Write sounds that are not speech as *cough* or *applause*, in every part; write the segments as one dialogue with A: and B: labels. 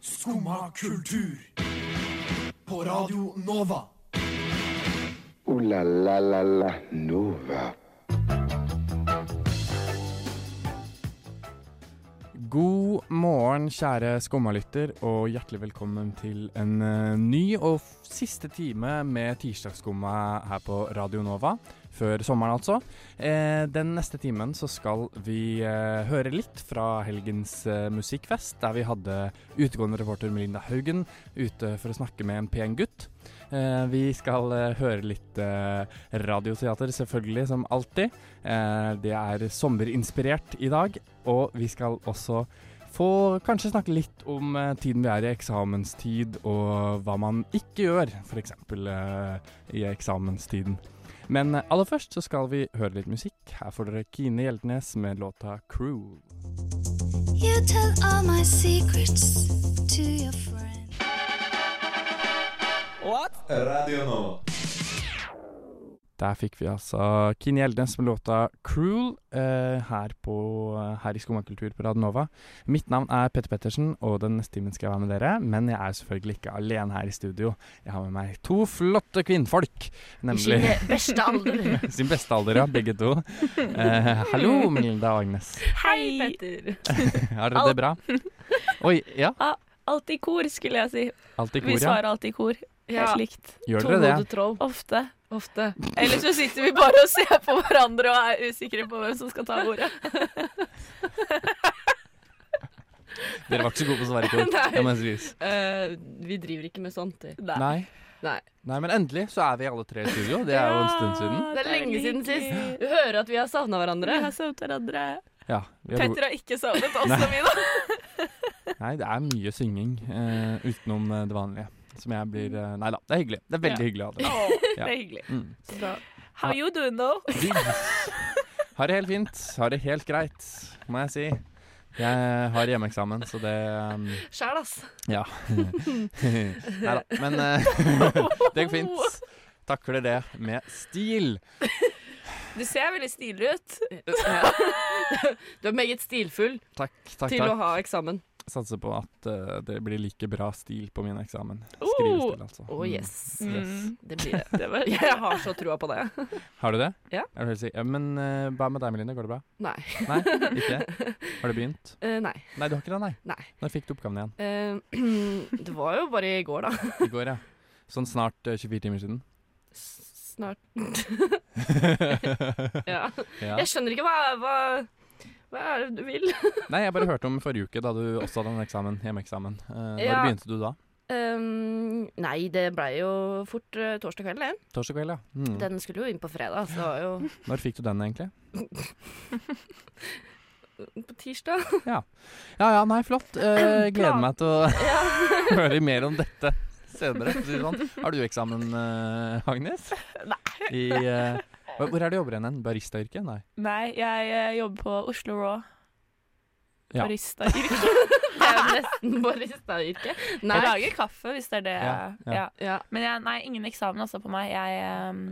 A: Skumma kultur. På Radio Nova.
B: Ooh la la la la Nova.
C: God morgen, kjære skummalytter, og hjertelig velkommen til en eh, ny og f- siste time med Tirsdagsskumma her på Radio Nova. Før sommeren, altså. Eh, den neste timen så skal vi eh, høre litt fra helgens eh, musikkfest, der vi hadde utegående reporter Melinda Haugen ute for å snakke med en pen gutt. Eh, vi skal eh, høre litt eh, radioteater, selvfølgelig, som alltid. Eh, det er sommerinspirert i dag. Og vi skal også få kanskje snakke litt om eh, tiden vi er i eksamenstid, og hva man ikke gjør, f.eks. Eh, i eksamenstiden. Men eh, aller først så skal vi høre litt musikk. Her får dere Kine Hjeltnes med låta 'Crew'.
D: You tell all my secrets to your friend.
C: Der fikk vi altså Kine Gjeldnes med låta 'Cruel' eh, her, på, her i Skomakultur på Radionova. Mitt navn er Petter Pettersen, og den neste timen skal jeg være med dere. Men jeg er selvfølgelig ikke alene her i studio. Jeg har med meg to flotte kvinnfolk. Nemlig
E: I sin beste alder.
C: sin beste alder, ja, begge to. Eh, hallo, Melinda og Agnes.
F: Hei, Petter.
C: Har dere det bra? Oi, ja.
F: Alt i kor, skulle jeg si.
C: Alltid
F: Vi
C: kor, ja.
F: svarer alltid i kor. Helt
E: Ja.
F: likt.
C: Gjør dere det?
E: Tohodet troll.
F: Ofte.
E: Ofte.
F: Eller så sitter vi bare og ser på hverandre og er usikre på hvem som skal ta ordet.
C: Dere var ikke så gode på å svare i
F: *laughs*
C: kor.
E: Nei.
C: det må jeg sies.
E: Eh, vi driver ikke med sånt. vi.
C: Nei.
E: Nei.
C: Nei, men endelig så er vi alle tre i studio. Det er jo en stund siden.
E: Det er lenge siden sist. Du hører at vi har savna
F: Dere
E: hverandre.
F: har savnet hverandre.
C: Ja, vi har
F: Petter har ikke savnet oss
C: Nei.
F: og vi, da.
C: Nei, det er mye synging eh, utenom eh, det vanlige. Som jeg blir eh, Nei da, det er hyggelig. Det er veldig
F: Ja.
C: hyggelig å ha dere. *laughs*
F: Det
C: Ja.
F: er hyggelig.
C: Mm.
F: How you doing though?
C: Vi Har det helt fint. Har det helt greit, må jeg si. Jeg har hjemmeeksamen, så det um,
E: Sjæl, ass.
C: Ja. *laughs* Nei da. Men eh, *laughs* det går fint. Takler det med stil.
F: Du ser veldig stilig ut.
E: Du er meget stilfull
C: Takk, takk,
E: til å
C: takk.
E: ha eksamen.
C: Satser på at eh, det blir like bra stil på min eksamen.
F: Oh!
C: Skrivestil, altså.
E: Å,
C: Mm.
E: yes.
F: Mm.
E: Det *laughs* blir det.
F: Det var
E: Jeg har så trua på *laughs* det.
C: Har du det?
E: Ja.
C: Er du helt sikker? Ja, men eh, hva med deg, Meline? Går det bra?
E: Nei.
C: Nei, ikke? Har du begynt?
E: Eh, nei.
C: Nei, du har ikke det, nei?
E: Nei.
C: Når fikk du oppgaven igjen?
E: Eh, *clears throat* det var jo bare i går, da.
C: I går, ja. Sånn snart eh, 24 timer siden?
E: S- Snart. *laughs*
C: ja.
E: Ja. Jeg skjønner ikke hva, hva Hva er det du vil?
C: Nei, jeg bare hørte om forrige uke, da du også hadde en eksamen, hjemmeeksamen. Eh, Når
E: Ja.
C: begynte du da?
E: Um, nei, det blei jo fort eh, torsdag kveld, det.
C: Torsdag kveld, ja. Mm.
E: Den skulle jo inn på fredag, så det var jo
C: Når fikk du den, egentlig?
E: *laughs* på tirsdag.
C: Ja ja, nei, flott. Eh, gleder meg til å *laughs* høre mer om dette senere. for å si det Sånn. Har du eksamen, eh, Agnes? Nei. I, eh, hva- hvor er det du jobber hen? Baristayrket? Nei.
F: Nei, jeg eh, jobber på Oslo Raw.
C: Ja. *laughs*
F: Barista. Jeg
E: Det er jo nesten baristayrke. *laughs* Nei.
F: lager kaffe, hvis det er det.
C: Ja, ja.
F: Ja.
E: Ja.
F: Men jeg, nei, ingen eksamen altså på meg. Jeg ehm,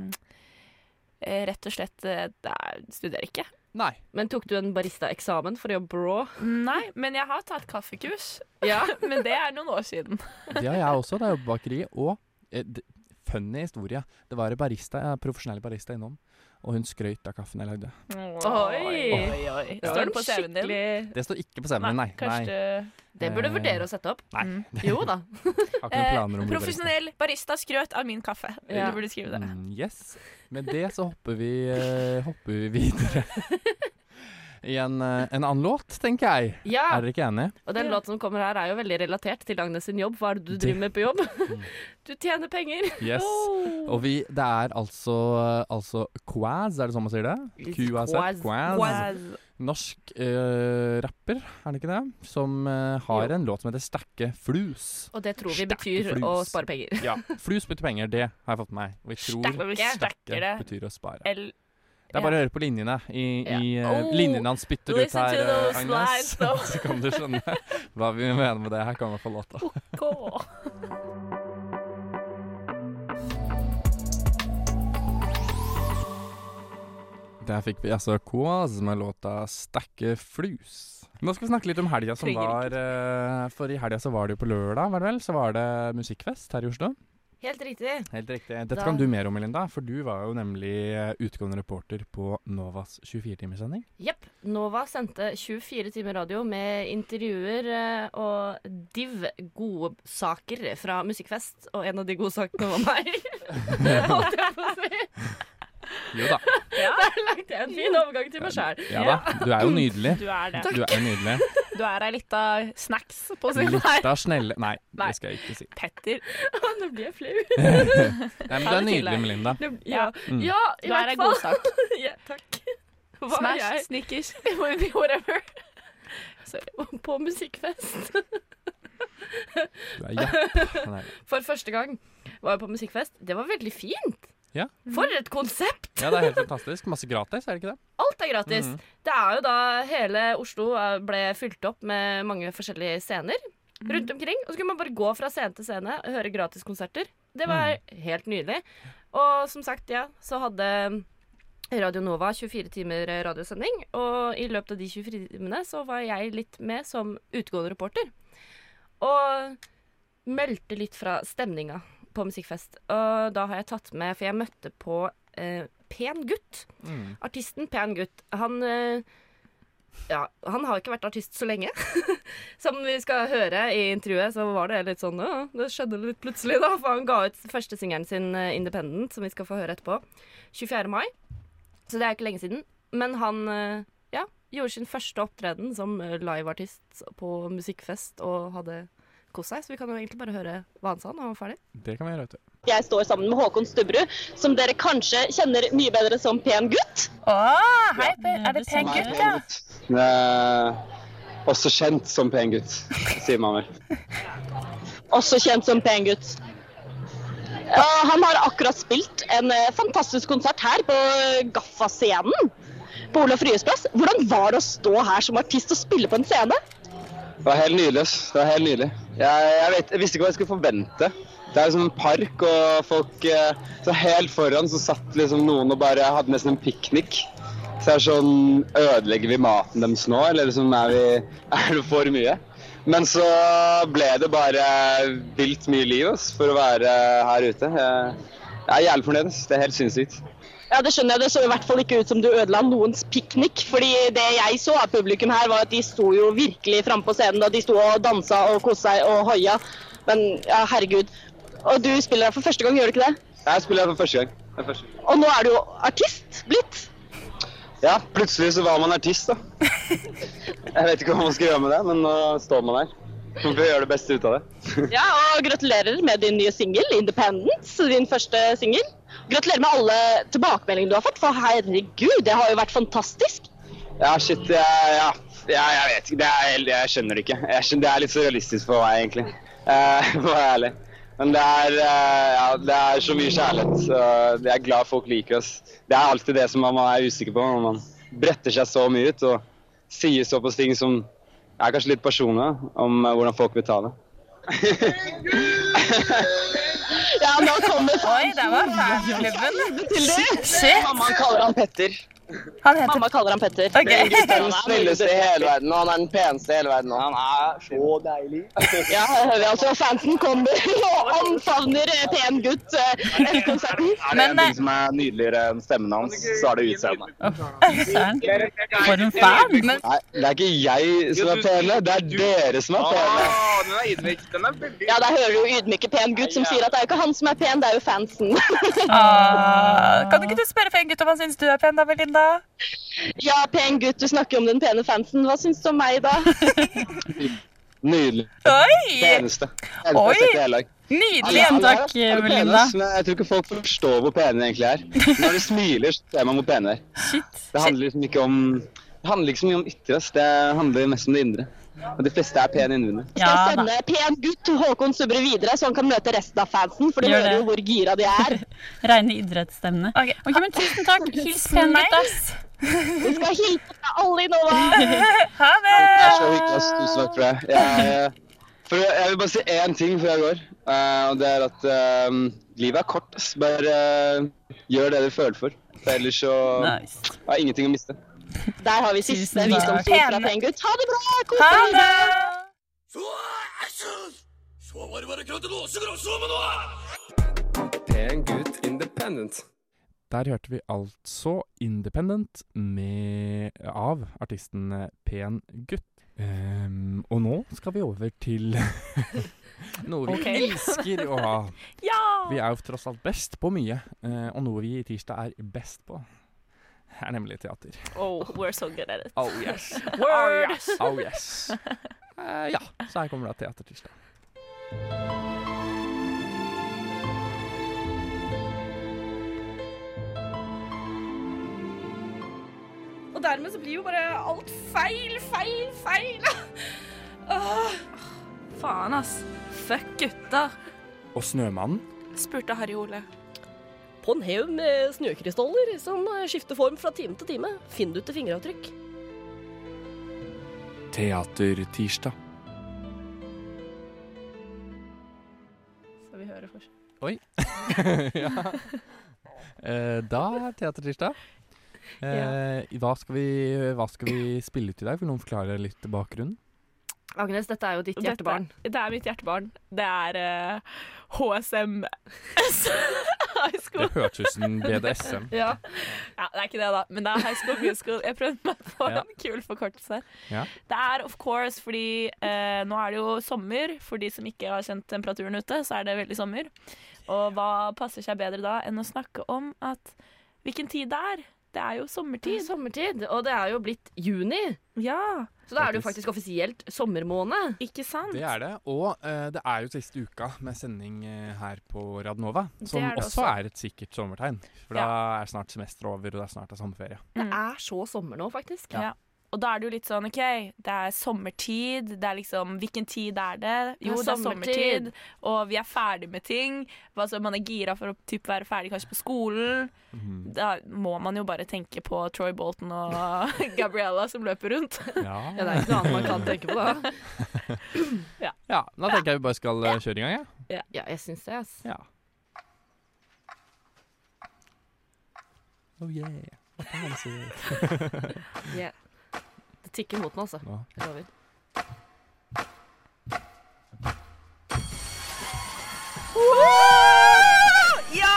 F: eh, rett og slett eh, det er- studerer ikke.
C: Nei.
E: Men tok du en baristaeksamen for å jobbe på Raw?
F: Nei, men jeg har tatt kaffekurs.
E: Ja.
F: *laughs* Men det er noen år siden.
C: Det har jeg også. Det er jo bakeri. Og eh, d- funny historie. Det var en barista, en profesjonell barista innom, og hun skrøt av kaffen jeg lagde.
E: oi,
F: oi.
E: Det
F: Står
E: var
F: det på
E: en
F: CV-en din?
E: skikkelig-
C: Det står ikke på CV-en min, nei.
F: Kanskje
C: nei.
F: du
E: Det burde du vurdere å sette opp.
C: Eh. Nei.
F: Mm.
E: Jo
C: *laughs*
E: da.
C: Jeg har ikke noen planer
F: eh,
C: om å bli barista.
F: Profesjonell barista skrøt av min kaffe.
E: Ja.
F: Du burde skrive det.
C: Mm, yes. Med det så hopper vi, eh, hopper vi videre i en, eh, en annen låt, tenker jeg.
E: Ja,
F: Ah.
C: Er dere ikke enige?
E: Og den låten som kommer her, er jo veldig relatert til Agnes sin jobb. Hva er det du driver med på
C: *laughs*
E: jobb?
C: Mm.
E: Du tjener penger.
C: Yes.
F: Oh.
C: Og vi, det er altså, altså Quaz, er det sånn man sier det? QAZ?
E: Quaz.
C: Quaz. norsk eh, rapper, er det ikke det? Som eh, har en låt som heter Stakke flus.
E: Og det tror vi
C: Sterke
E: betyr
C: flus.
E: å spare penger.
C: Ja, Flus betyr penger, det har jeg fått med meg. Og jeg tror
F: Stakker,
C: stakke
F: stakker det.
C: betyr å spare.
F: L
C: Det er bare å høre på linjene i, i
F: Ja.
C: eh,
F: Oh,
C: linjene han spytter ut
F: listen
C: her,
F: to
C: eh,
F: those
C: Agnes.
F: lines, though.
C: *laughs* Så kan du skjønne hva vi mener med det. Her kommer i hvert fall låta.
F: K.
C: Der fikk vi altså Kås med låta 'Stakke flus'. Nå skal vi snakke litt om helga som
F: Trenger
C: var. eh, For i helga så var det jo på lørdag, var det vel? Så var det musikkfest her i Oslo.
E: Helt riktig.
C: Helt riktig. Dette
E: Da-
C: kan du mer om, Melinda, for du var jo nemlig eh, utgående reporter på Novas 24-timerssending.
E: Jepp. Nova sendte 24 timer radio med intervjuer eh, og div gode saker fra musikkfest. Og en av de gode sakene var
C: *laughs*
E: meg. Holdt jeg på å si.
C: Jo da.
E: Der lagde jeg en fin overgang til meg sjøl.
C: Ja da. Du er jo nydelig.
F: Du er det.
C: Du er
F: *laughs*
C: nydelig.
F: Du er ei lita snacks på sin vei.
C: Lukta snelle Nei,
F: Nei.
C: det skal jeg ikke si.
F: Petter.
E: Nå blir jeg flau.
C: Nei, men
F: Ta
C: du er
F: det til deg.
C: nydelig, Melinda.
E: Nå- Ja,
C: Mm.
E: ja i
F: Du er ei
E: hvert fall.
F: *laughs* godsak.
E: Ja, takk. Hva er
F: Smash, Snickers,
E: *laughs*
F: whatever.
E: jeg på musikkfest?
C: Du er japp. Nei.
E: For første gang var jeg på musikkfest. Det var veldig fint.
C: Ja.
E: For et konsept!
C: Ja, det er helt fantastisk. Masse gratis, er det ikke det?
E: Alt er gratis.
C: Mhm.
E: Det er jo da hele Oslo eh, ble fylt opp med mange forskjellige scener rundt omkring. Og så kunne man bare gå fra scene til scene og høre gratiskonserter. Det var helt nydelig. Og som sagt, ja, så hadde Radio Nova 24 timer eh, radiosending. Og i løpet av de 24 timene så var jeg litt med som utgående reporter. Og meldte litt fra stemninga på musikkfest. Og da har jeg tatt med, for jeg møtte på eh, Pen gutt.
C: Mm.
E: Artisten Pen gutt. Han eh, ja, han har ikke vært artist så lenge. *laughs* Som vi skal høre i intervjuet, så var det litt sånn «Å, Det skjedde litt plutselig, da. For han ga ut første singelen sin, eh, 'Independent', som vi skal få høre etterpå. 24. mai. Så det er ikke lenge siden. Men han eh, ja, gjorde sin første opptreden som eh, liveartist på musikkfest og hadde kost seg. Så vi kan jo egentlig bare høre hva han sa når han var ferdig.
C: Det kan vi gjøre, vet du.
G: Jeg står sammen med Håkon Stubberud, som dere kanskje kjenner mye bedre som pen gutt.
F: Hei, Per. Er det pen
B: Nei,
F: gutt,
B: pen
F: ja?
B: gutt. Eh, Også kjent som pen gutt, sier man vel.
G: Også kjent som pen gutt. Og han har akkurat spilt en eh, fantastisk konsert her på eh, Gaffa-scenen på Olav Ryes plass. Hvordan var det å stå her som artist og spille på en scene?
B: Det var helt nydelig. ass. Det var helt nydelig. Jeg, jeg, vet, jeg visste ikke hva jeg skulle forvente. Det er liksom en park, og folk eh, så Helt foran så satt liksom noen og bare hadde nesten en piknik. Så det er sånn Ødelegger vi maten deres nå, eller liksom er, vi, er det for mye? Men så ble det bare vilt mye liv ass, for å være her ute. Jeg, jeg er jævlig fornøyd. ass. Det er helt sinnssykt.
G: Ja, det skjønner jeg. Det så i hvert fall ikke ut som du ødela noens piknik. Fordi det jeg så av publikum her, var at de sto jo virkelig framme på scenen. Og de sto og dansa og kosa seg og hoia. Men ja, herregud. Og du spiller her for første gang, gjør du ikke det?
B: Jeg spiller her for første gang. Det er første gang.
G: Og nå er du jo artist blitt.
B: Ja, plutselig så var man artist, da. Jeg vet ikke hva man skal gjøre med det, men nå står man der. Man bør gjøre det beste ut av det.
G: Ja, og gratulerer med din nye singel, 'Independence', din første singel. Gratulerer med alle tilbakemeldingene du har fått, for herregud, det har jo vært fantastisk.
B: Ja, shit, jeg, ja, ja, jeg vet ikke. Det er, helt- jeg skjønner det ikke. Jeg skjønner, det er litt surrealistisk for meg, egentlig. Eh, *laughs* for å være ærlig. Men det er, eh, ja, det er så mye kjærlighet. Så jeg er glad folk liker oss. Det er alltid det som man er usikker på når man bretter seg så mye ut og sier såpass ting som er kanskje litt personlige om eh, hvordan folk vil ta det.
G: *laughs* Ja, nå kommer
F: Oi, der var fanklubben. Shit, shit.
G: Mamma kaller han Petter.
F: Han heter
G: Mamma kaller han Petter.
F: Ok.
B: Den *laughs* snilleste i hele verden, og han er den peneste i hele verden. og Han er så deilig.
G: Ja, her hører vi altså. Fansen kommer og omfavner eh, pen gutt eh, etter konserten.
B: Er det
F: Men,
B: en ting som er nydeligere enn stemmen hans, så er det utseendet.
F: Søren. For en fan. Men
B: Nei, det er ikke jeg som er pene, det er dere som er pene.
G: Ja, der hører du jo ydmyke pen gutt som sier at det er jo ikke han som er pen, det er jo fansen. *laughs*
F: ah, kan ikke du spørre pen gutt om han syns du er pen, da, Melinda?
G: Ja, pen gutt, du snakker jo om den pene fansen. Hva syns du om meg, da?
B: Nydelig.
F: Oi!
B: Peneste.
F: Oi!
B: Peneste i hele dag.
F: Nydelig
B: Alle- alle
F: gjentakk,
B: her er pene,
F: Melinda.
B: ass, Men jeg tror ikke folk forstår hvor pene de egentlig er. Når de smiler, så ser man hvor pene de er.
F: Shit.
B: Det handler liksom ikke om det handler liksom ikke så mye om ytre, ass. det handler mest om det indre. Og de fleste er pene innvendig.
F: Ja
G: Skal
F: da.
G: sende pen gutt Håkon Subbre videre, så han kan møte resten av fansen. For du
H: Gjør
G: hører
H: det.
G: jo hvor gira de er.
H: Reine idrettsstemmene.
F: Ok,
H: Ok, men tusen takk. Hils pen gutt, ass.
G: Vi skal hilse fra alle i Nova.
F: Ha det!
B: Det er så hyggelig. ass. Tusen takk for det. Jeg, eh, For jeg jeg vil bare si én ting før jeg går. eh, og det er at eh, livet er kort. ass. Bare eh, gjør det dere føler for. For Ellers så
H: Nice.
B: har jeg ingenting å miste.
G: Der har vi siste
H: Tusen takk.
G: visdomsord fra Pengutt. Ha det bra! Kos
H: Ha
G: dere!
H: det!
I: Pen gutt independent.
C: Der hørte vi altså Independent med, av artisten eh, Pen gutt. Ehm, og nå skal vi over til *laughs* noe vi
F: Ok.
C: elsker å ha.
F: Ja!
C: Vi er jo tross alt best på mye, eh, og noe vi i tirsdag er best på, er nemlig teater.
F: Oh, we're so good at it.
C: Oh yes.
F: Word!
C: Oh yes. Eh, ja, så her kommer da Teatertirsdag.
E: Og dermed så blir jo bare alt feil, feil,
F: *laughs*
E: feil. Åh,
J: Faen, ass. Fuck gutter,
C: Og Snømannen.
J: spurte Harry Ole.
K: På en haug med snøkrystaller som eh, skifter form fra time til time, finner du til fingeravtrykk.
C: Teatertirsdag.
F: Så vi hører først.
C: *laughs* ja. Eh, da er Teatertirsdag. Eh, i- hva, skal vi, hva skal vi spille ut i dag? Vil noen forklare litt bakgrunnen?
E: Agnes, dette er jo ditt hjertebarn.
F: Dette- Det er mitt hjertebarn. Det er eh, HSM *laughs* High School.
C: *laughs* Det hørtes ut som BDSM.
E: Ja.
F: Ja, det er ikke det, da. Men det er High School Musical. Jeg prøvde meg på
C: Ja.
F: en kul forkortelse.
C: Ja.
F: Det er of course fordi eh, nå er det jo sommer. For de som ikke har kjent temperaturen ute, så er det veldig sommer. Og hva passer seg bedre da enn å snakke om at hvilken tid det er? Det er jo
E: Det er
F: sommertid.
E: sommertid, og det er jo blitt juni.
F: Ja,
E: Så da er det jo faktisk offisielt sommermåned.
F: ikke sant?
C: Det er det. Og eh, det er jo siste uka med sending eh, her på Radnova, som
F: er det
C: også,
F: også.
C: er et sikkert sommertegn. For da er snart semesteret over, og det er snart er sommerferie.
E: Det er så sommer nå, faktisk.
F: Ja. Og da er det jo litt sånn OK, det er sommertid. Det er liksom Hvilken tid er det? Jo, det er sommertid.
E: sommertid.
F: Og vi er ferdig med ting. Altså, man er gira for å typ, være ferdig kanskje på skolen. Da må man jo bare tenke på Troy Bolton og *laughs* Gabriella som løper rundt.
E: Ja, det er ikke noe annet man kan tenke på da.
C: Ja, Da tenker jeg vi bare skal eh, kjøre i gang, jeg.
E: *laughs* Ja, jeg syns det, ass.
C: Ja. Oh yeah. Hva faen sier jeg?
E: Det tikker mot den, altså.
C: Ja.
E: Jeg lover.
F: Ja!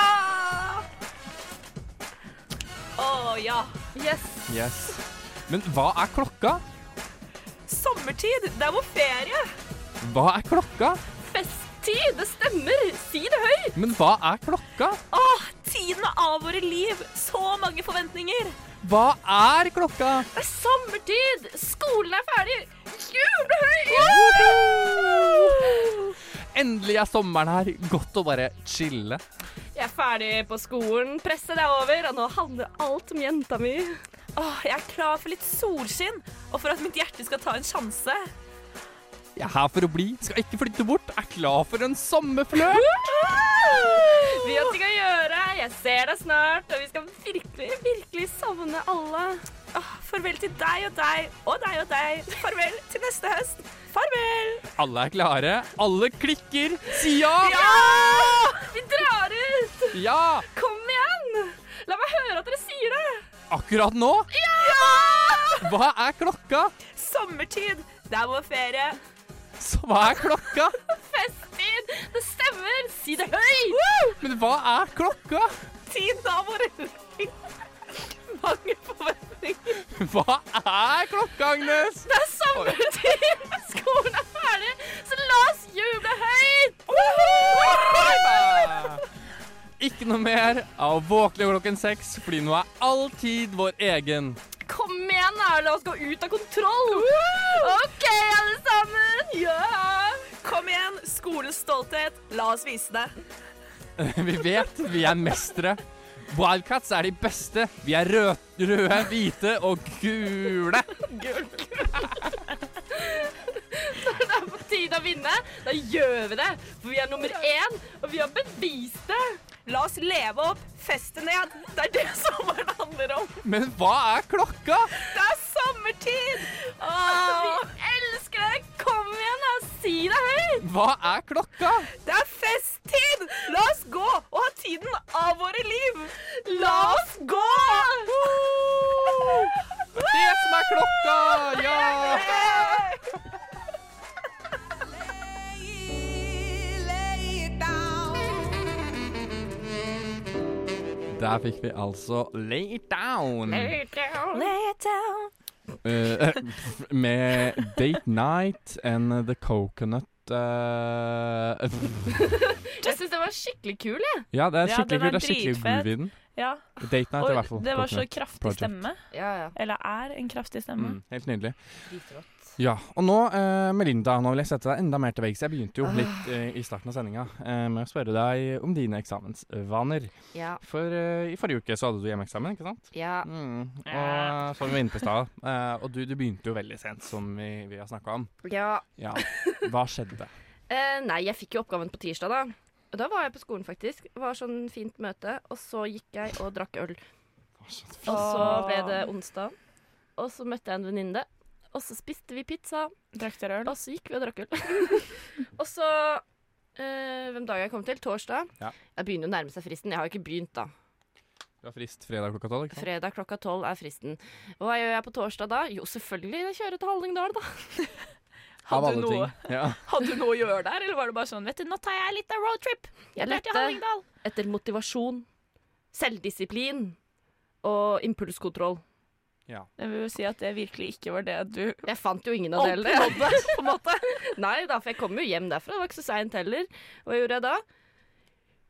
F: Å ja.
E: Yes.
C: Yes. Men hva er klokka?
F: Sommertid! Det er vår ferie!
C: Hva er klokka?
E: Festtid! Det stemmer! Si det høyt!
C: Men hva er klokka?
F: Åh, tiden av våre liv! Så mange forventninger!
C: Hva er klokka?
E: Det er sommertid! Skolen er ferdig!
C: Endelig er sommeren her. Godt å bare chille.
E: Jeg er ferdig på skolen. Presset er over, og nå handler alt om jenta mi.
F: Åh, jeg er klar for litt solskinn, og for at mitt hjerte skal ta en sjanse.
C: Jeg er her for å bli, skal ikke flytte bort. Er klar for en sommerflørt.
E: Vet ikke hva jeg gjøre. Jeg ser deg snart, og vi skal virkelig, virkelig savne alle.
F: Åh, farvel til deg og deg, og deg og deg. Farvel til neste høst. Farvel!
C: Alle er klare. Alle klikker. Si ja!
E: Ja! Vi drar ut!
C: Ja!
E: Kom igjen! La meg høre at dere sier det.
C: Akkurat nå. Hva er klokka?
F: Sommertid, det er vår ferie.
C: Så hva er klokka?
E: Festtid! Det stemmer! Si det høyt!
C: Men hva er klokka?
F: Tiden av våre liv. Mange forventninger.
C: *laughs* Hva er klokka, Agnes?
E: Det er sommertid! Skolen er ferdig, så la oss juble høyt!
C: Ikke noe mer av Våkne klokken seks, fordi nå er all tid vår egen. *laughs*
E: Kom igjen, da! La oss gå ut av kontroll! OK, alle sammen! Ja!
F: Kom igjen, skolens stolthet. La oss vise det.
C: Vi vet vi er mestere. Wildcats er de beste. Vi er rød, røde, hvite og gule.
E: Det er på tide å vinne. Da gjør vi det! For vi er nummer én, og vi har bevist det!
F: La oss leve opp, feste ned. Det er det sommeren handler om.
C: Men hva er klokka?
F: Det er sommertid!
E: Vi elsker deg! Kom igjen, da! Si det høyt!
C: Hva er klokka?
F: Det er festtid! La oss gå og ha tiden av våre liv! La oss gå!
C: Det er det som er klokka! Ja! Der fikk vi altså Lay It Down.
L: Lay it down.
C: Eh, *laughs* med Date Night and The Coconut eh,
E: Jeg syns den var skikkelig kul, jeg.
C: *laughs* Ja, det er skikkelig
F: den
C: kult. Det er skikkelig
F: dritfett.
C: groove i den.
F: Ja.
C: Date Night i hvert fall.
F: Og det var så
C: Coconut
F: kraftig
C: Project.
F: stemme. Eller er en kraftig stemme.
C: Mm, helt nydelig. Ja, og nå, eh, Melinda, nå vil jeg sette deg enda mer til veggs. Jeg begynte jo
E: Ah.
C: litt eh, i starten av sendinga eh, med å spørre deg om dine eksamensvaner.
E: Ja.
C: For eh, i forrige uke så hadde du hjemmeeksamen, ikke sant?
F: Ah.
C: Mm,
E: Ja.
C: Og som vi var inne på i stad, eh, og du, du begynte jo veldig sent, som vi, vi har snakka om.
E: ja.
C: Ja. Hva skjedde?
E: Eh, nei, jeg fikk jo oppgaven på tirsdag, da. Og da var jeg på skolen, faktisk. Det var sånn fint møte, og så gikk jeg og drakk øl.
C: Mm.
E: Og så ble det onsdag, og så møtte jeg en venninne. Og så spiste vi pizza.
F: Drakk dere øl?
E: Og så gikk vi og drakk øl. *laughs* og så eh, Hvem dag jeg kom til? Torsdag.
C: Ja.
E: Jeg begynner jo å nærme seg fristen. Jeg har jo ikke begynt, da.
C: Du har frist fredag klokka tolv, ikke sant?
E: Fredag klokka tolv er fristen. Hva gjør jeg på torsdag da? Jo, selvfølgelig jeg kjører til Hallingdal, da.
C: Av
F: Hadde
C: alle
F: du noe?
C: ting. Ja.
F: Hadde du noe å gjøre der, eller var det bare sånn Vet du, nå tar jeg litt av roadtrip.
E: Jeg
F: drar til
E: lette
F: Hallingdal.
E: etter motivasjon, selvdisiplin og impulskontroll.
C: Ja.
F: Jeg vil jo si at det virkelig ikke var det du
E: Jeg fant jo ingen av delene.
F: Oppnådde,
E: på en måte. *laughs* Nei da, for jeg kom jo hjem derfra. Det var ikke så seint heller. Hva gjorde jeg da?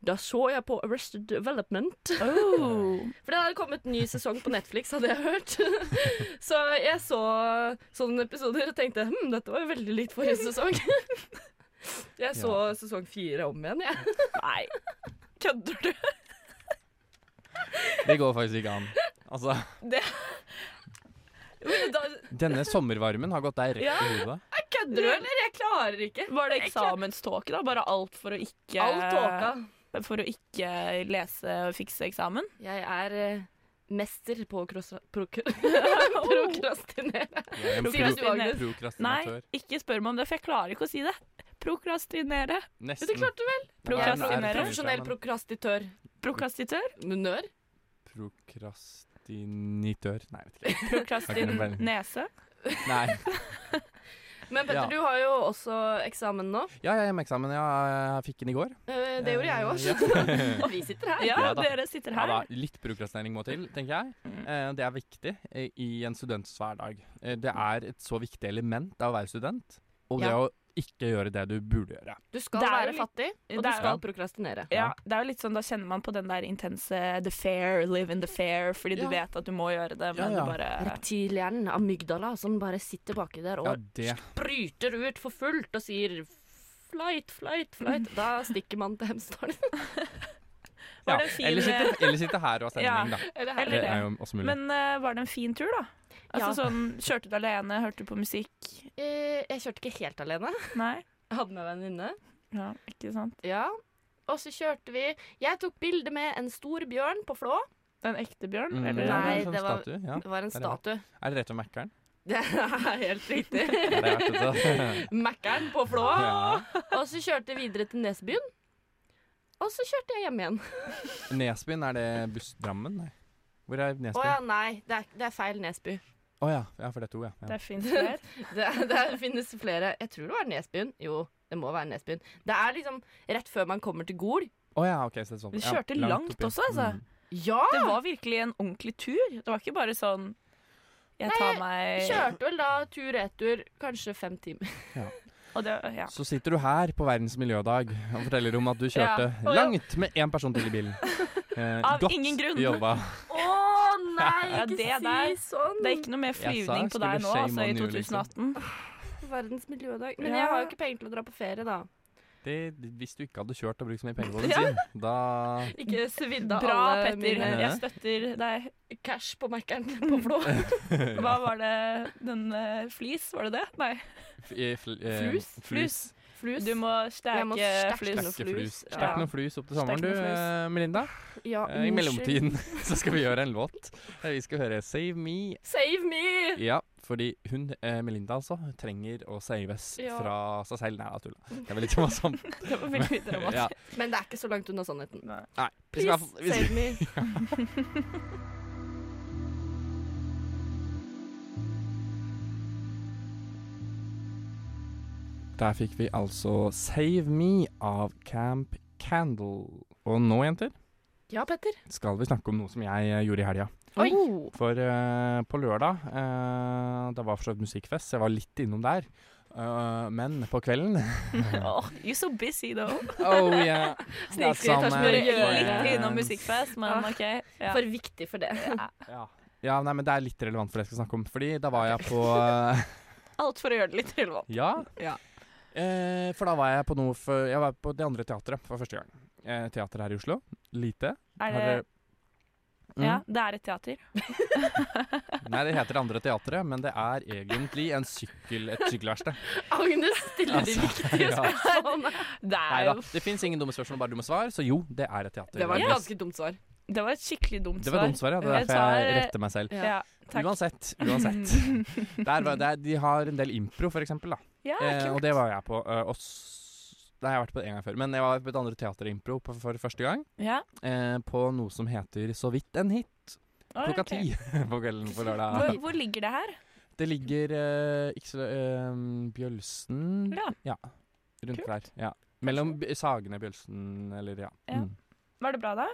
E: Da så jeg på Arrested Development.
F: Oh.
E: For det hadde kommet ny sesong på Netflix, hadde jeg hørt. *laughs* Så jeg så sånne episoder og tenkte hm, dette var jo veldig likt forrige sesong. *laughs* Jeg så sesong fire om igjen, jeg.
F: Nei, kødder du?
C: Det går faktisk ikke an. Altså,
F: Det da,
C: denne sommervarmen har gått deg rett
F: Ja.
C: i hodet.
E: Jeg kødder du, eller? Jeg klarer ikke.
F: Var *laughs* det eksamenståke, da? Bare alt for å ikke
E: All tåka.
F: For å ikke lese og fikse *laughs* eksamen?
E: Jeg er eh, mester på å krosra- *laughs* prok-
F: Oh.
E: prokrastinere.
C: Jeg er en
E: Si
C: pro-
E: hva du har
F: *laughs*
E: lyst.
C: Prokrastinatør.
F: Nei, ikke spør meg om det, for jeg klarer ikke å si det. Prokrastinere.
C: Nesten.
E: Det klarte du vel?
C: Prokrastinere.
E: Profesjonell prokrastitør.
C: *laughs*
F: Prokrastitør?
E: Nør?
C: Prokrastinitør. Nei, jeg vet ikke. Jeg har ikke noe peiling.
F: Prokrastinese?
C: Nei.
E: Men Petter,
C: Ja.
E: du har jo også eksamen nå.
C: Ja, jeg er hjemmeeksamen. Ja, jeg fikk den i går.
E: Eh, Det gjorde jeg
C: Ja. *laughs*
E: òg. *laughs* Og vi sitter her.
C: Ja da.
F: sitter
C: Ja, da, litt prokrastinering må til, tenker jeg. Eh, Det er viktig eh, i en students hverdag. Eh, Det er et så viktig element av å være student, og det
E: Ja.
C: å ikke gjøre det du burde gjøre.
E: Du skal
F: Det er jo
E: være
F: litt-
E: fattig, og du
F: det er jo-
E: skal prokrastinere.
F: Ja, det er jo litt sånn, Da kjenner man på den der intense the fair, live in the fair, fordi
E: Ja.
F: du vet at du må gjøre det, men du bare
E: Reptilhjernen, amygdala, som bare sitter baki der og
C: Ja, det
E: bryter ut for fullt og sier flight, flight, *laughs* flight. Da stikker man til Hemsedalen.
C: ja.
F: Var det en fin-
C: Eller sitte, eller sitte her og ha stemning, da.
E: Eller her.
C: Det er jo også mulig.
F: Men eh, var det en fin tur, da? Altså
E: Ja.
F: sånn, Kjørte du alene, hørte du på musikk?
E: Eh, Jeg kjørte ikke helt alene.
F: Nei?
E: Jeg hadde med meg en venninne.
F: Ja, ikke sant?
E: Ja. Og så kjørte vi Jeg tok bilde med en stor bjørn på Flå.
F: En ekte bjørn?
C: Mm,
F: eller?
C: ja,
E: Nei,
C: en sånn
E: det var,
C: statue, ja.
E: det var en
C: Der er det.
E: statue.
C: Er det rett om Mækkern?
E: *laughs* Det er helt riktig.
C: Ja, det er
E: *laughs*
C: verdt det.
E: Mækkern på Flå.
C: Ja.
E: Og så kjørte jeg videre til Nesbyen. Og så kjørte jeg hjem igjen.
C: Nesbyen, er det buss Drammen? Nei. Hvor er
E: Å ja,
C: Nesbyen?
E: nei. Det er, det er feil Nesby. *laughs*
C: Å ja. ja, for det er to, ja. ja.
F: Det fins
C: *laughs*
F: flere.
E: Det, det finnes flere. Jeg tror det var Nesbyen. Jo, det må være Nesbyen. Det er liksom rett før man kommer til Gol.
C: Å ja, ok, så det er sånn.
F: Vi
C: Ja,
F: kjørte langt,
C: opp, ja.
F: også, altså.
C: Mm.
E: Ja!
F: Det var virkelig en ordentlig tur. Det var ikke bare sånn Jeg tar meg
E: Kjørte vel da tur-retur kanskje fem timer.
F: Og det, ja.
C: Så sitter du her på Verdens miljødag og forteller om at du kjørte
F: Ja. Å, ja.
C: langt med én person til i
F: *laughs*
C: bilen. Eh,
F: Av ingen grunn.
C: jobba.
E: Å nei,
F: Ja,
E: ikke
F: det
E: si
F: der.
E: sånn!
F: Det er ikke noe mer
C: Jeg sa
F: flyvning
C: jeg
F: på deg
C: skulle
F: nå,
C: shame
F: altså, i
C: on you, liksom.
F: 2018.
E: Verdens miljødag. Men
F: Ja.
E: jeg har jo ikke penger til å dra på ferie, da.
C: Det, hvis du ikke hadde kjørt og brukt så mye
F: *laughs*
C: penger på bensin, da
E: Ikke svidda
F: Bra,
E: alle
F: Petter.
E: mine
F: Jeg støtter deg.
E: cash på *laughs* Mækkern på
C: *laughs*
E: Flå.
F: Hva var det Den eh, flis, var det det? Nei.
C: F- i fl- eh,
F: Flus?
C: Flus.
F: Flus.
E: Flus.
F: Du må steke,
E: Jeg må steke
F: flus.
E: noe
C: Stekke flus.
E: Ja.
C: Stekk noen flus opp til sommeren,
E: Stekk
C: du,
E: noe flus.
C: eh, Melinda.
E: Ja,
C: Eh, I mellomtiden *laughs* så skal vi gjøre en låt. Eh, Vi skal høre 'Save Me'.
E: Save *laughs* me!
C: Ja, fordi hun, eh, Melinda altså, trenger å saves
E: Ja.
C: fra seg selv. Nei, jeg tuller.
E: *laughs*
C: Det var litt morsomt.
E: Det var veldig
C: Men-
E: dramatisk.
C: ja.
E: Men det er ikke så langt unna sannheten.
C: Nei. vi skal i hvert
E: Please,
C: fall- vi skal-
E: save me.
C: Der fikk vi altså 'Save Me' av Camp Candle. Og nå, jenter,
E: *laughs* Ja, Petter.
C: skal vi snakke om noe som jeg eh, gjorde i helga.
E: Oi.
C: For eh, på lørdag eh, Det var for så vidt musikkfest, så jeg var litt innom der. Eh, men på kvelden
F: *laughs*
E: *laughs*
F: Åh, you're so busy, though.
C: Oh, *laughs* yeah. That's
F: Snikskryt har
C: some,
F: som gjør
C: eh,
F: litt innom
C: friends.
F: musikkfest, men
E: Ah,
F: OK.
E: For viktig for det.
C: Ja, nei, men det er litt relevant for det jeg skal snakke om. Fordi da var jeg på eh,
F: Alt for å gjøre det litt relevant.
C: Ja.
F: Ja.
C: Eh, for da var jeg på noe for, Jeg var på Det andre teatret for første gang. Eh, teater her i Oslo. Lite.
F: Er
C: Har
F: det-
C: Mm.
F: Ja, det er et teater. *laughs*
C: dere- *laughs* Nei, det heter Det andre teatret, men det er egentlig en sykkel, et sykkelverksted.
E: *laughs* Agnes stiller de
C: Altså,
E: viktige
C: ja.
E: spørsmålene.
F: Det
C: Nei
F: er
C: da.
F: jo
C: Det fins ingen dumme spørsmål, bare dumme svar. Så jo, det er et teater.
E: Det var et
C: Yes.
E: ganske dumt svar.
F: Det var et skikkelig dumt
C: Det var dumt svar, ja. Det er
F: Et
C: derfor jeg
F: svar-
C: retter meg selv.
F: Ja, takk.
C: Uansett, uansett. Der var, der, de har en del impro, for eksempel. Da.
F: Ja,
C: eh, og
F: Ah, kult.
C: det var jeg på. Eh, og s- det har jeg vært på en gang før. Men jeg var på et andre teaterimpro på- for første gang.
F: Ja.
C: Eh, på noe som heter Så vidt en hit.
F: Oi,
C: Klokka
F: ok.
C: ti *laughs* på kvelden på
F: Hvor,
C: lørdag.
F: hvor ligger det her?
C: Det ligger eh, ikke så eh, Bjølsen
F: Ja.
C: Rundt der. Ja. Mellom B- Sagene Bjølsen, eller ja.
F: Ja.
C: Mm.
F: Var det bra, da?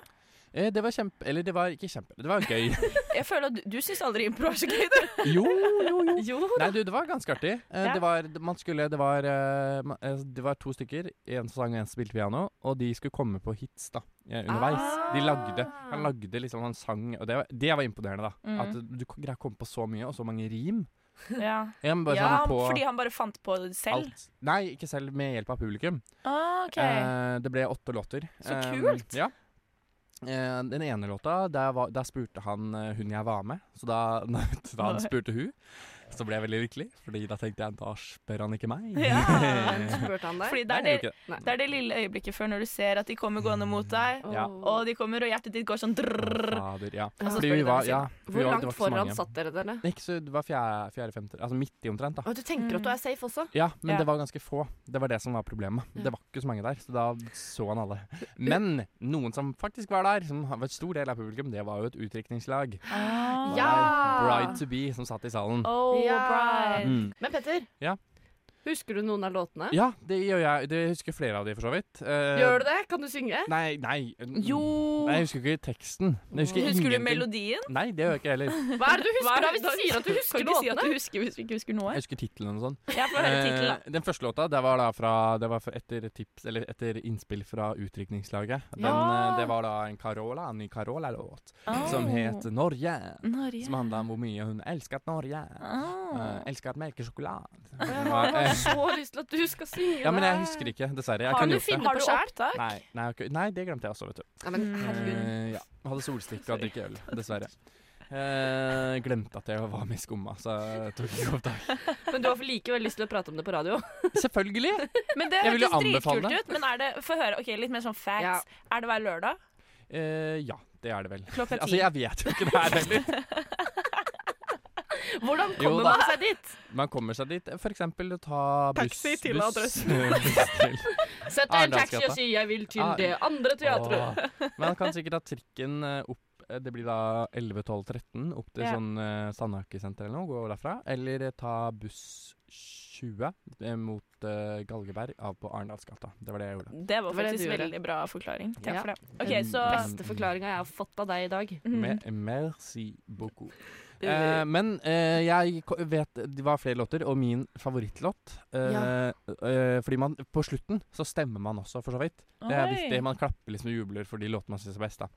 C: Eh, det var kjempe... Eller det var ikke kjempe... Det var
F: *laughs*
C: gøy.
F: Jeg føler at Du, du syns aldri impro er så gøy, du.
C: jo, jo, jo.
F: *laughs* Jo
C: Nei, du, det var ganske artig. Eh,
F: Ja.
C: Det, var, d- man skulle, det, var, eh, ma- eh, det var to stykker. En som sang, og en som spilte piano. Og de skulle komme på hits da eh, underveis.
F: Ah.
C: De
E: Ah.
C: lagde Han lagde liksom Han sang Og det var, det var imponerende, da.
F: Mhm.
C: At du k- greier å komme på så mye, og så mange rim.
F: Ja,
C: Ja, men bare
F: ja
C: sånn på
F: fordi han bare fant på det selv?
C: alt. Nei, ikke selv, med hjelp av publikum.
F: Ah, ok. *laughs*
C: Eh, det ble åtte låter.
F: Så
C: Eh,
F: kult.
C: ja. Eh, den ene låta, der, var, der spurte han eh, hun jeg var med. Så da, *laughs* da han
F: Nei.
C: spurte hun, så ble jeg veldig lykkelig. Fordi da tenkte jeg da spør han ikke meg. *laughs*
E: Spurte han deg?
F: Fordi
C: Nei,
F: det
C: jeg
F: er
C: gjorde
F: det,
E: ikke det.
F: det er det lille øyeblikket før når du ser at de kommer gående mot deg,
C: Ja.
F: og de kommer, og hjertet ditt går sånn drrrr.
C: Fader, ja.
E: Altså,
F: Og så
C: Fordi
F: spør
C: vi
F: de
C: var,
F: deg,
C: ja fordi vi
E: Hvor
C: var-
E: langt
C: det var ikke så
E: foran
C: mange.
E: satt dere dere?
C: Ikke så, det var fjerde, fjerde femte, altså midt i omtrent, da.
E: Å, du tenker at du er safe også?
C: Ja, men
E: Ja.
C: det var ganske få. Det var det som var problemet. Det var ikke så mange der, så da så han alle. Men noen som faktisk var der, som var et stor del av publikum, det var jo et utdrikningslag.
F: Ah.
C: Bride to be, som satt i salen.
F: Oh,
E: Ja.
F: bride.
C: Mm.
E: Men Petter,
C: Ja.
E: husker du noen av låtene?
C: ja, det gjør jeg. Det husker flere av de, for så vidt. Eh,
E: Gjør du det? Kan du synge?
C: Nei, nei.
F: Jo.
C: Nei, jeg husker ikke teksten. Jeg husker,
F: Husker du
C: ingenting.
F: melodien?
C: Nei, det gjør jeg ikke heller.
E: Hva er det du
F: Hva er
E: husker da hvis du
F: det-
E: sier at du husker
F: Kan ikke si
E: låtene?
F: at du husker hvis du ikke husker noe.
C: Jeg husker tittelen og sånn.
F: Ja, få høre tittelen,
C: Eh, den første låta det var da fra, det var fra etter, tips, eller etter innspill fra utdrikningslaget. Den,
F: Ja.
C: eh, Det var da en Carola, en ny Carola-låt,
F: Oh.
C: som het 'Norge'.
F: Norge.
C: Som handla om hvor mye hun elsket Norge.
F: Ah.
C: Eh, elsket melkesjokolade.
E: Jeg
C: Det var- eh,
E: har så lyst til at du skal synge
C: ja, men jeg
E: det.
C: husker ikke, dessverre. Jeg
E: Har
C: kunne
E: du
C: gjort det.
E: funnet på
F: da.
E: sjæl?
F: Opptak?
C: Nei, nei, ok. nei, det glemte jeg også, vet du.
E: Ja, men herregud.
C: Eh, ja. Hadde solstikke og drikke øl, dessverre. Eh, glemte at jeg var med i Skumma, så jeg tok ikke opptak.
E: Men du har likevel lyst til å prate om det på radio?
C: Selvfølgelig!
F: Men det
C: Jeg vil jo
F: høres
C: anbefale
F: dritkult
C: det.
F: ut. Men er det, få høre, ok, litt mer sånn facts.
E: Ja.
F: Er det hver lørdag?
C: Eh, ja, det er det vel.
F: Klokka ti.
C: Altså, jeg vet jo ikke det her heller.
E: Hvordan
C: Jo
E: kommer
C: da.
E: man seg dit?
C: Man kommer seg dit. For eksempel å ta buss
F: Taxi til
C: buss-
F: adressen.
C: *laughs* buss til-
E: Sett deg i en taxi og
C: Arendalsgata.
E: si 'jeg vil til
C: Ah.
E: det andre teatret'.
C: Åh. *laughs* Men man kan sikkert ta trikken eh, opp eh, Det blir da 11-12-13 opp til
F: Ja.
C: sånn eh, Sandhakesenteret eller noe, gå derfra. Eller eh, ta buss 20 eh, mot eh, Galgeberg av på Arendalsgata. Det var det jeg gjorde.
F: Det var
E: Det var det
F: faktisk
E: du gjorde.
F: veldig bra forklaring. Takk
E: Ja.
F: for det. Ok, så
E: Beste forklaringa jeg har fått av deg i dag.
F: Mhm.
C: Me merci beaucoup. Eh, men eh, jeg ko- vet det var flere låter, og min favorittlåt eh,
E: Ja.
C: eh, Fordi man på slutten så stemmer man også, for så vidt. Det er
F: Oi.
C: viktig. Man klapper liksom og jubler for de låtene man syns er best. da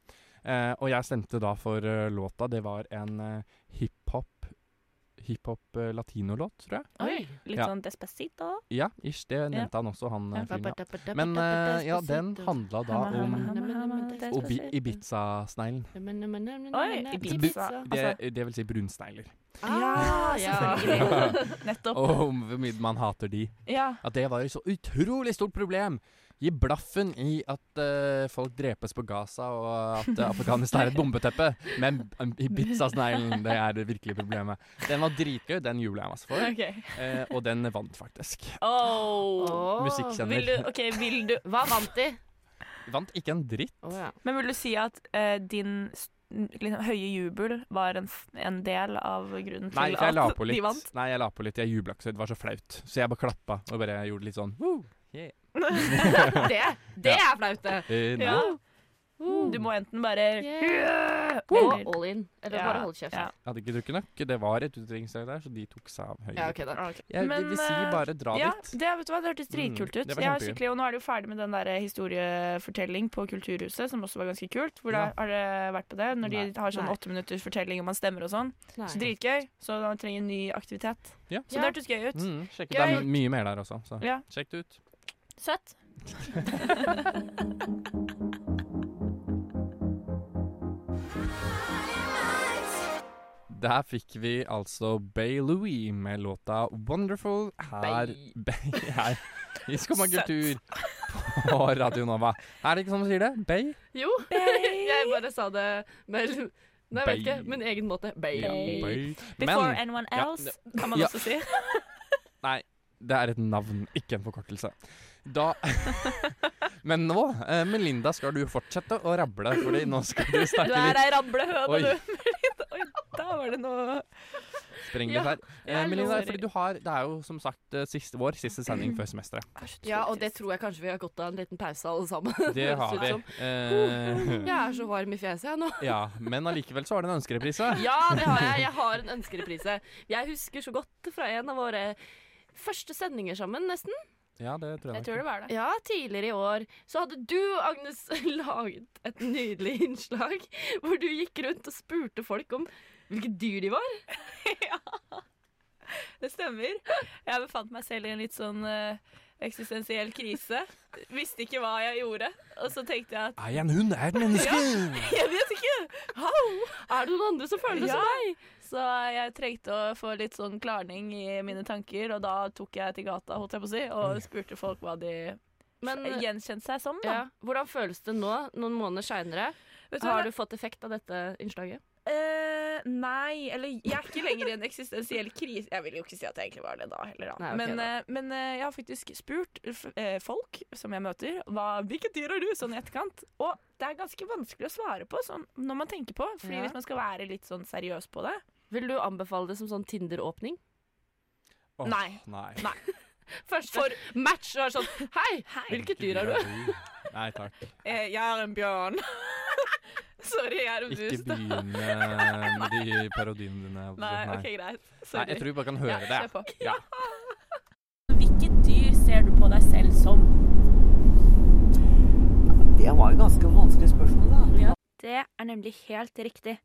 C: Eh, Og jeg stemte da for eh, låta. Det var en eh, hiphop Hiphop eh, latinolåt, tror jeg.
F: Oi, litt
C: Ja.
F: sånn despacito.
C: Ja, ish. Det nevnte han også, han
F: Ja.
C: eh, fyren. da. Men eh, ja, den handla da
F: Hammer,
C: om
F: hammer, hammer, hammer,
C: Obi-
F: despacito.
C: Ibiza-sneglen.
F: Oi, Ibiza.
C: Det,
F: Altså,
C: det vil si brunsnegler.
F: Ja, selvfølgelig. Nettopp.
C: Og hvorvidt man hater de.
F: Ja.
C: At det var et så utrolig stort problem. Gi blaffen i at eh, folk drepes på Gaza, og at eh, Afghanistan er et bombeteppe. Men um, Ibiza-sneglen, det er det virkelige problemet. Den var dritgøy, den jubla jeg masse for.
F: Ok.
C: Eh, og den vant faktisk.
F: Oh.
C: Musikkjenner.
F: Vil du, ok, vil du Hva vant de?
C: Vant ikke en dritt.
F: Men vil du si at eh, din s- liksom, høye jubel var en, f- en del av grunnen
C: Nei,
F: til
C: for jeg la
F: at
C: på
F: de
C: litt. *laughs*
F: vant? *laughs*
C: Nei, jeg la på litt. Jeg jubla ikke, så det var så flaut. Så jeg bare klappa og bare gjorde litt sånn woo.
F: det
C: det Ja.
F: er flaut,
C: Eh, nei.
F: Du må enten bare
E: Yeah.
F: Eller-
E: Eller all in. Eller bare holde kjeft.
F: Ja.
C: Jeg hadde ikke drukket nok. Det var et utdrikningslag der, så de tok seg av høyre.
E: Ja, ok da.
C: Jeg
F: Men,
C: vil si
F: eh,
C: bare dra
F: ja,
C: dit.
F: Det, vet du hva, det hørtes dritkult
C: Mm,
F: ut.
C: det var
F: Jeg har
C: kjempegøy.
F: skikkelig, og nå er du ferdig med den der historiefortelling på Kulturhuset, som også var ganske kult. Hvor
C: Ja.
F: da Har dere vært på det? Når
C: Nei.
F: de har sånn
C: Nei.
F: åtte minutters fortelling og man stemmer og sånn.
C: Nei.
F: Så dritgøy. Så da trenger en ny aktivitet.
C: Ja.
F: Så det hørtes gøy ut.
C: Mm, sjekk ut.
F: Gøy.
C: Det er mye mer der også, så
F: Ja.
C: sjekk det ut.
F: Søtt.
C: Der fikk vi altså Bay Louie med låta 'Wonderful' her, *laughs* Bay, her i Skumma
E: Søtt.
C: kultur på Radio Nova. Er det ikke sånn man sier det? Bay?
E: Jo, *laughs* jeg bare sa det med Nei, jeg vet ikke. Min egen måte. Bay.
C: Ja, bay.
F: Before
C: Men-
F: anyone
C: Ja,
F: else,
C: det-
F: kan man
C: Ja.
F: også
C: *laughs*
F: si.
C: Nei, det er et navn, ikke en forkortelse. Da *laughs* Men nå, eh, Melinda, skal du fortsette å rable, Fordi nå skal du
F: Du
C: snakke
F: er ei
C: litt
F: rablehøne,
C: Oi.
F: du. *laughs* Oi, da var det noe
C: spreng litt
F: Ja,
C: her. Eh,
F: jeg
C: Melinda,
F: lover.
C: fordi du har Det er jo som sagt eh, siste vår, siste sending før semesteret.
F: *laughs*
E: Ja, og det tror jeg kanskje vi har godt av en liten pause, alle sammen.
C: Det
E: høres
C: har
E: ut
C: vi.
E: som.
C: Eh, *laughs*
E: Jeg er så varm i fjeset jeg nå.
C: ja, men allikevel så har du en ønskereprise.
E: *laughs* Ja, det har jeg. Jeg har en ønskereprise. Jeg husker så godt fra en av våre første sendinger sammen, nesten.
C: Ja, det tror jeg. nok.
E: var det. Ja, tidligere i år så hadde du, Agnes, *laughs* laget et nydelig innslag hvor du gikk rundt og spurte folk om hvilke dyr de var.
F: *laughs* Det stemmer. Jeg befant meg selv i en litt sånn eh, eksistensiell krise. Visste ikke hva jeg gjorde. Og så tenkte jeg at *laughs*
C: Er jeg en hund? Er jeg et menneske?
F: Jeg vet ikke!
E: Er det noen andre som føler det sånn? som
F: Ja.
E: deg?
F: Så jeg trengte å få litt sånn klarning i mine tanker, og da tok jeg til gata holdt jeg på å si, og spurte folk hva de
E: Mm. Men
F: gjenkjente seg som. Da.
E: ja, hvordan føles det nå, noen måneder seinere?
F: Vet du hva?
E: Har du fått effekt av dette innslaget?
F: Eh, nei, eller jeg er ikke lenger i en eksistensiell krise. Jeg vil jo ikke si at jeg egentlig var det da heller. Da.
E: Nei, ok,
F: men
E: da.
F: eh, men eh, jeg har faktisk spurt f eh, folk som jeg møter, hva, hvilket dyr er du? Sånn i etterkant. Og det er ganske vanskelig å svare på sånn, når man tenker på. Fordi
E: Ja.
F: hvis man skal være litt sånn seriøs på det
E: Vil du anbefale det som sånn Tinder-åpning?
C: Åh,
F: Nei.
C: nei.
E: Første match og er sånn Hei, hvilket dyr er du?
C: Nei takk.
F: eh, Jeg er en bjørn. *laughs* Sorry, jeg er en
C: Ikke
F: mus. da.
C: begynn eh, med med de parodiene dine.
F: Nei, OK, greit.
C: Nei,
F: Sorry.
C: jeg tror vi bare kan høre
F: Ja, kjør
C: det.
F: på.
C: Ja.
H: Hvilket dyr ser du på deg selv som?
L: Det var jo ganske vanskelig spørsmål, da.
M: Det er nemlig helt riktig.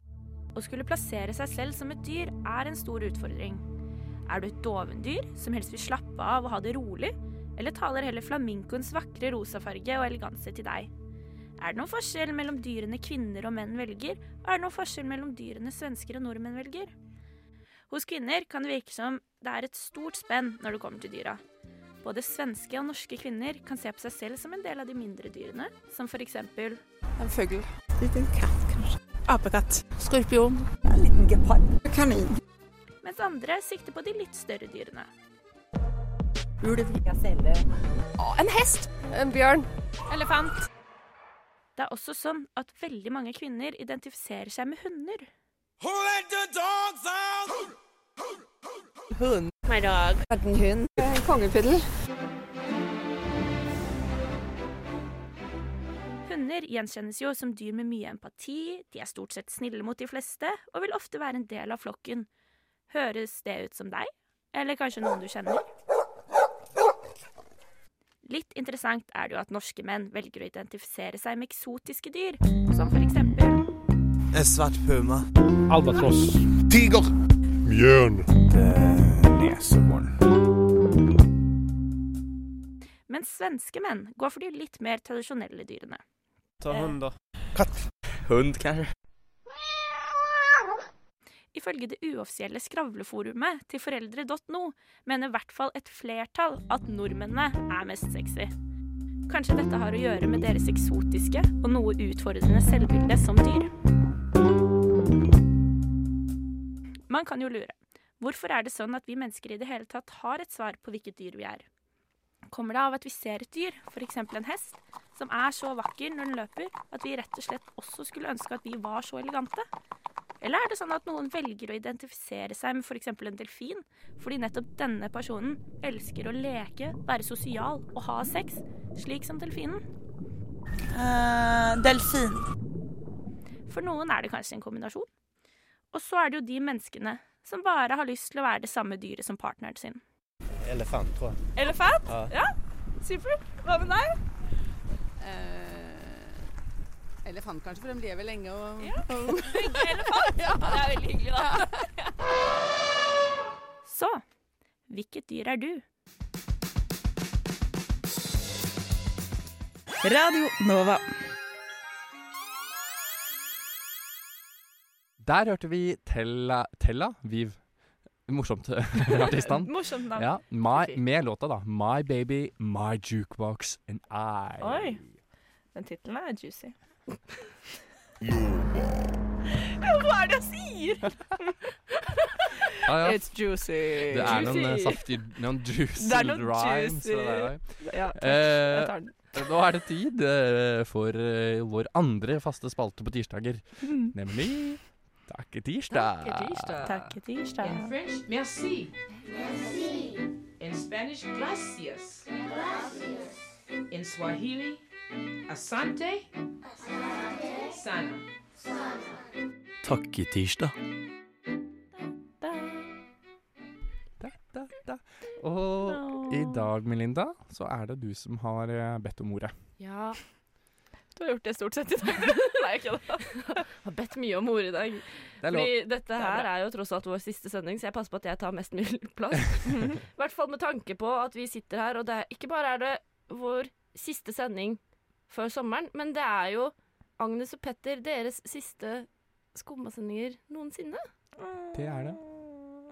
M: Å skulle plassere seg selv som et dyr er en stor utfordring. Er du et dovendyr som helst vil slappe av og ha det rolig, eller taler heller flaminkoens vakre rosafarge og eleganse til deg? Er det noen forskjell mellom dyrene kvinner og menn velger, og er det noen forskjell mellom dyrene svensker og nordmenn velger? Hos kvinner kan det virke som det er et stort spenn når det kommer til dyra. Både svenske og norske kvinner kan se på seg selv som en del av de mindre dyrene, som for eksempel
N: En fugl. Liten katt, kanskje. Apekatt. Skorpion. En liten gepard. Kanin.
M: mens andre sikter på de litt større dyrene.
L: Ulv. Gaselle.
M: En hest. En bjørn. Elefant. Det er også sånn at veldig mange kvinner identifiserer seg med hunder.
O: Who let the dogs out?
L: Hund. My dog. Verdenhund. Kongepuddel.
M: Hunder gjenkjennes jo som dyr med mye empati, de er stort sett snille mot de fleste, og vil ofte være en del av flokken. Høres det ut som deg? Eller kanskje noen du kjenner? Litt interessant er det jo at norske menn velger å identifisere seg med eksotiske dyr, som for eksempel
P: En Eh, svart puma. Albatross. Tiger. Bjørn. Eh, Nesehorn.
M: Mens svenske menn går for de litt mer tradisjonelle dyrene. Eh,
Q: Ta hund, da.
P: Katt.
Q: Hund, kanskje.
M: Ifølge det uoffisielle skravleforumet til foreldre.no mener i hvert fall et flertall at nordmennene er mest sexy. Kanskje dette har å gjøre med deres eksotiske og noe utfordrende selvbilde som dyr. Man kan jo lure. Hvorfor er det sånn at vi mennesker i det hele tatt har et svar på hvilket dyr vi er? Kommer det av at vi ser et dyr, f.eks. en hest, som er så vakker når den løper at vi rett og slett også skulle ønske at vi var så elegante? Eller er det sånn at noen velger å identifisere seg med f.eks. en delfin, fordi nettopp denne personen elsker å leke, være sosial og ha sex, slik som delfinen?
N: delfin.
M: For noen er det kanskje en kombinasjon. Og så er det jo de menneskene som bare har lyst til å være det samme dyret som partneren sin.
Q: Elefant, tror jeg.
M: Elefant?
Q: Ja.
M: Ja, supert. Hva med deg?
L: elefant kanskje, for de lever lenge og
M: elefant. Ja, det er veldig hyggelig, da. Så hvilket dyr er du?
C: Radio Nova. Der hørte vi Tella, Tella Viv. Morsomt *laughs* artistnavn.
F: *laughs* Morsomt navn.
C: Ja, my, med låta, da. My Baby, My Jukebox and I.
F: Oi. Den tittelen er juicy.
M: Hva er det jeg sier?
C: Ah, Ja, ja.
F: It's juicy.
C: Det er noen eh,
F: Juicy.
C: saftige Noen juicy
F: Det er noen
C: rhymes.
F: juicy-
C: fra deg.
F: Ja, takk.
C: Eh,
F: Jeg tar den.
C: nå er det tid eh, for eh, vår andre faste spalte på tirsdager,
F: Mm.
C: nemlig Takke tirsdag.
F: Takke tirsdag.
R: In French, merci. In Spanish, gracias. In Swahili, asante. Sana.
S: Takketirsdag.
C: Og i dag, Melinda, så er det du som har eh, bedt om ordet.
E: Ja.
F: Du har gjort det stort sett i dag. *laughs* Nei, ikke det.
E: Har bedt mye om ord i dag.
F: Det er lov.
E: Fordi dette
F: er
E: her
F: bra.
E: er jo tross alt vår siste sending, så jeg passer på at jeg tar mest mulig *laughs* plass. I hvert fall med tanke på at vi sitter her, og det er, ikke bare er det vår siste sending før sommeren, men det er jo Agnes og Petter deres siste skummasendinger noensinne.
C: Det er det.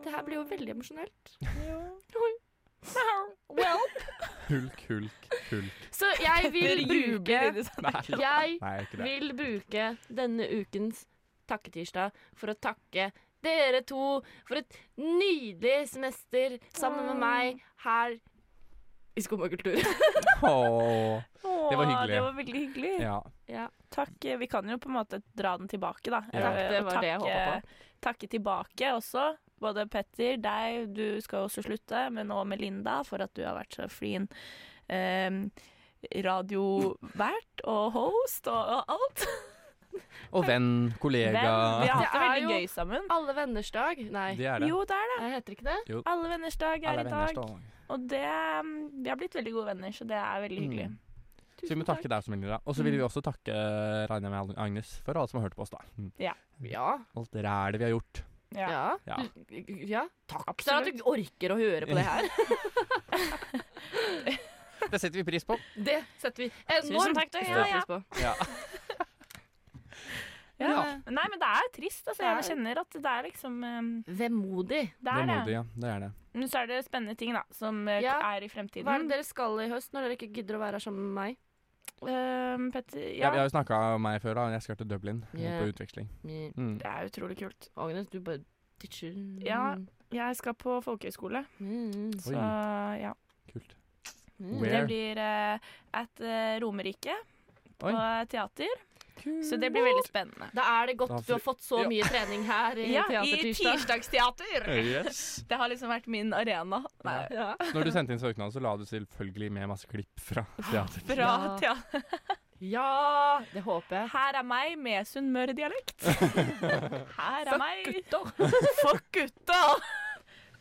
E: Det her blir jo veldig emosjonelt.
C: Hulk, hulk, hulk.
E: Så *laughs* jeg vil
F: Dere jubler
E: bruke
F: inni
C: sendingen.
E: Jeg
C: Nei, ikke det.
E: vil bruke denne ukens takketirsdag for å takke dere to for et nydelig semester sammen med meg her i Skum og kultur.
C: Åh, det var hyggelig.
F: Det var veldig hyggelig.
C: Ja.
F: Takk. eh, Vi kan jo på en måte dra den tilbake, da.
E: Ja. Takk, det
F: og
E: var det jeg håpet
F: Takke tilbake også. Både Petter, deg, du skal også slutte, men òg Melinda for at du har vært så flin eh, radiovert og host og, og alt.
C: Og venn, kollega
F: Venn, vi har hatt det
E: Det er
F: veldig
E: jo
F: gøy sammen.
E: *laughs* Alle venners dag. Nei.
C: Det er det. Jo,
F: det er det.
E: Nei, heter ikke det?
C: Jo.
F: Alle venners dag er
C: Alle
F: i
C: venners
F: dag.
C: dag.
F: Og det mm, Vi har blitt veldig gode venner, så det er veldig hyggelig.
C: Mm. Så vi må takke deg også, Melinda. Og så vil
F: Mm.
C: vi også takke eh, regner jeg med Agnes for alle som har hørt på oss, da. Mm.
F: Ja.
E: Ja.
C: Alt det rælet vi har gjort.
E: Ja.
C: Ja.
E: Du- ja. Takk for at du orker å høre på det her.
C: Det setter vi pris på.
E: *laughs* Det setter vi enormt
F: Tusen takk, da.
E: stor
F: Ja, ja.
E: pris på.
C: *laughs* Ja.
F: Ja.
C: Ja.
F: Nei, men det er trist. Altså, jeg
E: Det er-
F: kjenner at det er liksom um,
E: Vemodig.
F: Det er
C: Vemodig,
F: det.
C: ja. Det er det.
F: Men så er det spennende ting da, som eh,
E: Ja.
F: er i fremtiden.
E: Hva er det dere skal i høst når dere ikke gidder å være her sammen med meg?
F: Um, Petter,
C: Ja.
F: ja.
C: vi har jo snakka om meg før, da. Jeg skal til Dublin
E: Ja.
C: på utveksling.
E: Mm.
C: Mm.
F: Det er utrolig kult.
E: Agnes, du bare ditcher.
F: ja, jeg skal på folkehøyskole.
E: Mm.
F: Så ja.
C: Kult.
F: Mm, Det
C: Where?
F: blir eh, at eh, Romerike på
C: Oi.
F: teater. Så det blir veldig spennende.
E: Da er det godt
C: Da får-
E: du har fått så
F: Ja.
E: mye trening her i *laughs*
F: Ja, i
E: Teatertirsdag.
F: Tirsdagsteater!
C: Yes.
F: Det har liksom vært min arena. Nei.
C: *laughs* Når du sendte inn søknaden, så la du selvfølgelig med masse klipp
F: *laughs*
C: fra teater.
F: Bra teater.
E: ja, det håper jeg.
F: Her er meg med
C: *laughs*
F: sunnmøredialekt. Her er meg. *laughs* Fuck gutta!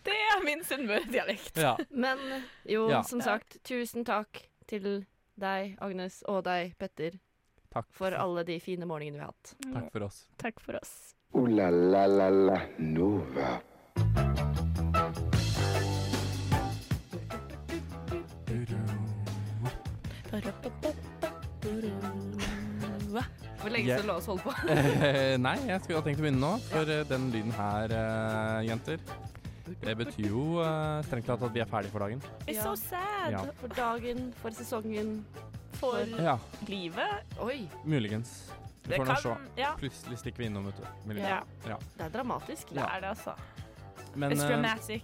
F: Det er min sunnmøredialekt.
C: Ja.
E: Men jo,
C: Ja.
E: som sagt, tusen takk til deg, Agnes, og deg, Petter,
C: Takk.
E: for alle de fine morgenene vi har hatt.
C: Takk for oss. *laughs*
F: Takk for oss.
T: Ooh la la la la Nova.
E: Hvor
F: For
E: lenge skal du la oss holde på?
C: Eh, Nei, jeg skulle ha tenkt å begynne nå, for eh, den lyden her, eh, jenter Det betyr jo eh, strengt tatt at vi er ferdige for dagen.
E: It's so sad.
C: Ja.
E: *laughs* For dagen, for sesongen,
F: For
C: Ja.
F: livet.
E: Oi.
C: Muligens. Vi
F: Det
C: får nå
F: kan-
C: se.
F: ja.
C: Plutselig stikker vi innom, vet du. Muligens.
F: Ja.
C: Ja.
E: Det er dramatisk.
C: Ja. Det er
F: det, altså.
C: Men,
F: It's
C: eh, *laughs*
F: dramatic.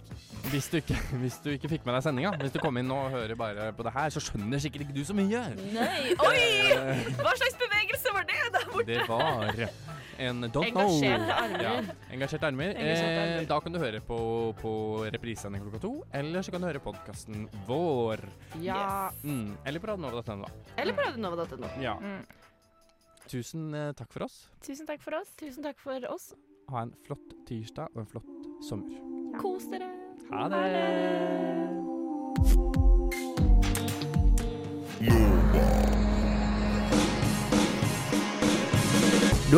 C: Hvis du, ikke, *laughs* hvis du ikke fikk med deg sendinga, hvis du kom inn nå og hører bare på det her, så skjønner sikkert ikke du så mye.
F: Nei. Oi!
C: Eh,
F: Hva slags bevegelse var det der borte?
C: Det var en don't know.
F: Engasjerte armer.
C: engasjerte armer.
F: Engasjerte armer.
C: Eh, da kan du høre på, på reprisesending klokka to, eller så kan du høre podkasten vår.
E: Ja.
C: Mm, eller på radionova.no.
E: Eller på radionova.no.
C: Ja.
E: Mm.
C: Tusen eh, takk for oss.
E: Tusen takk for oss. Tusen takk for oss.
C: Ha en flott tirsdag og en flott sommer.
E: Kos dere.
C: Ha det.
S: Du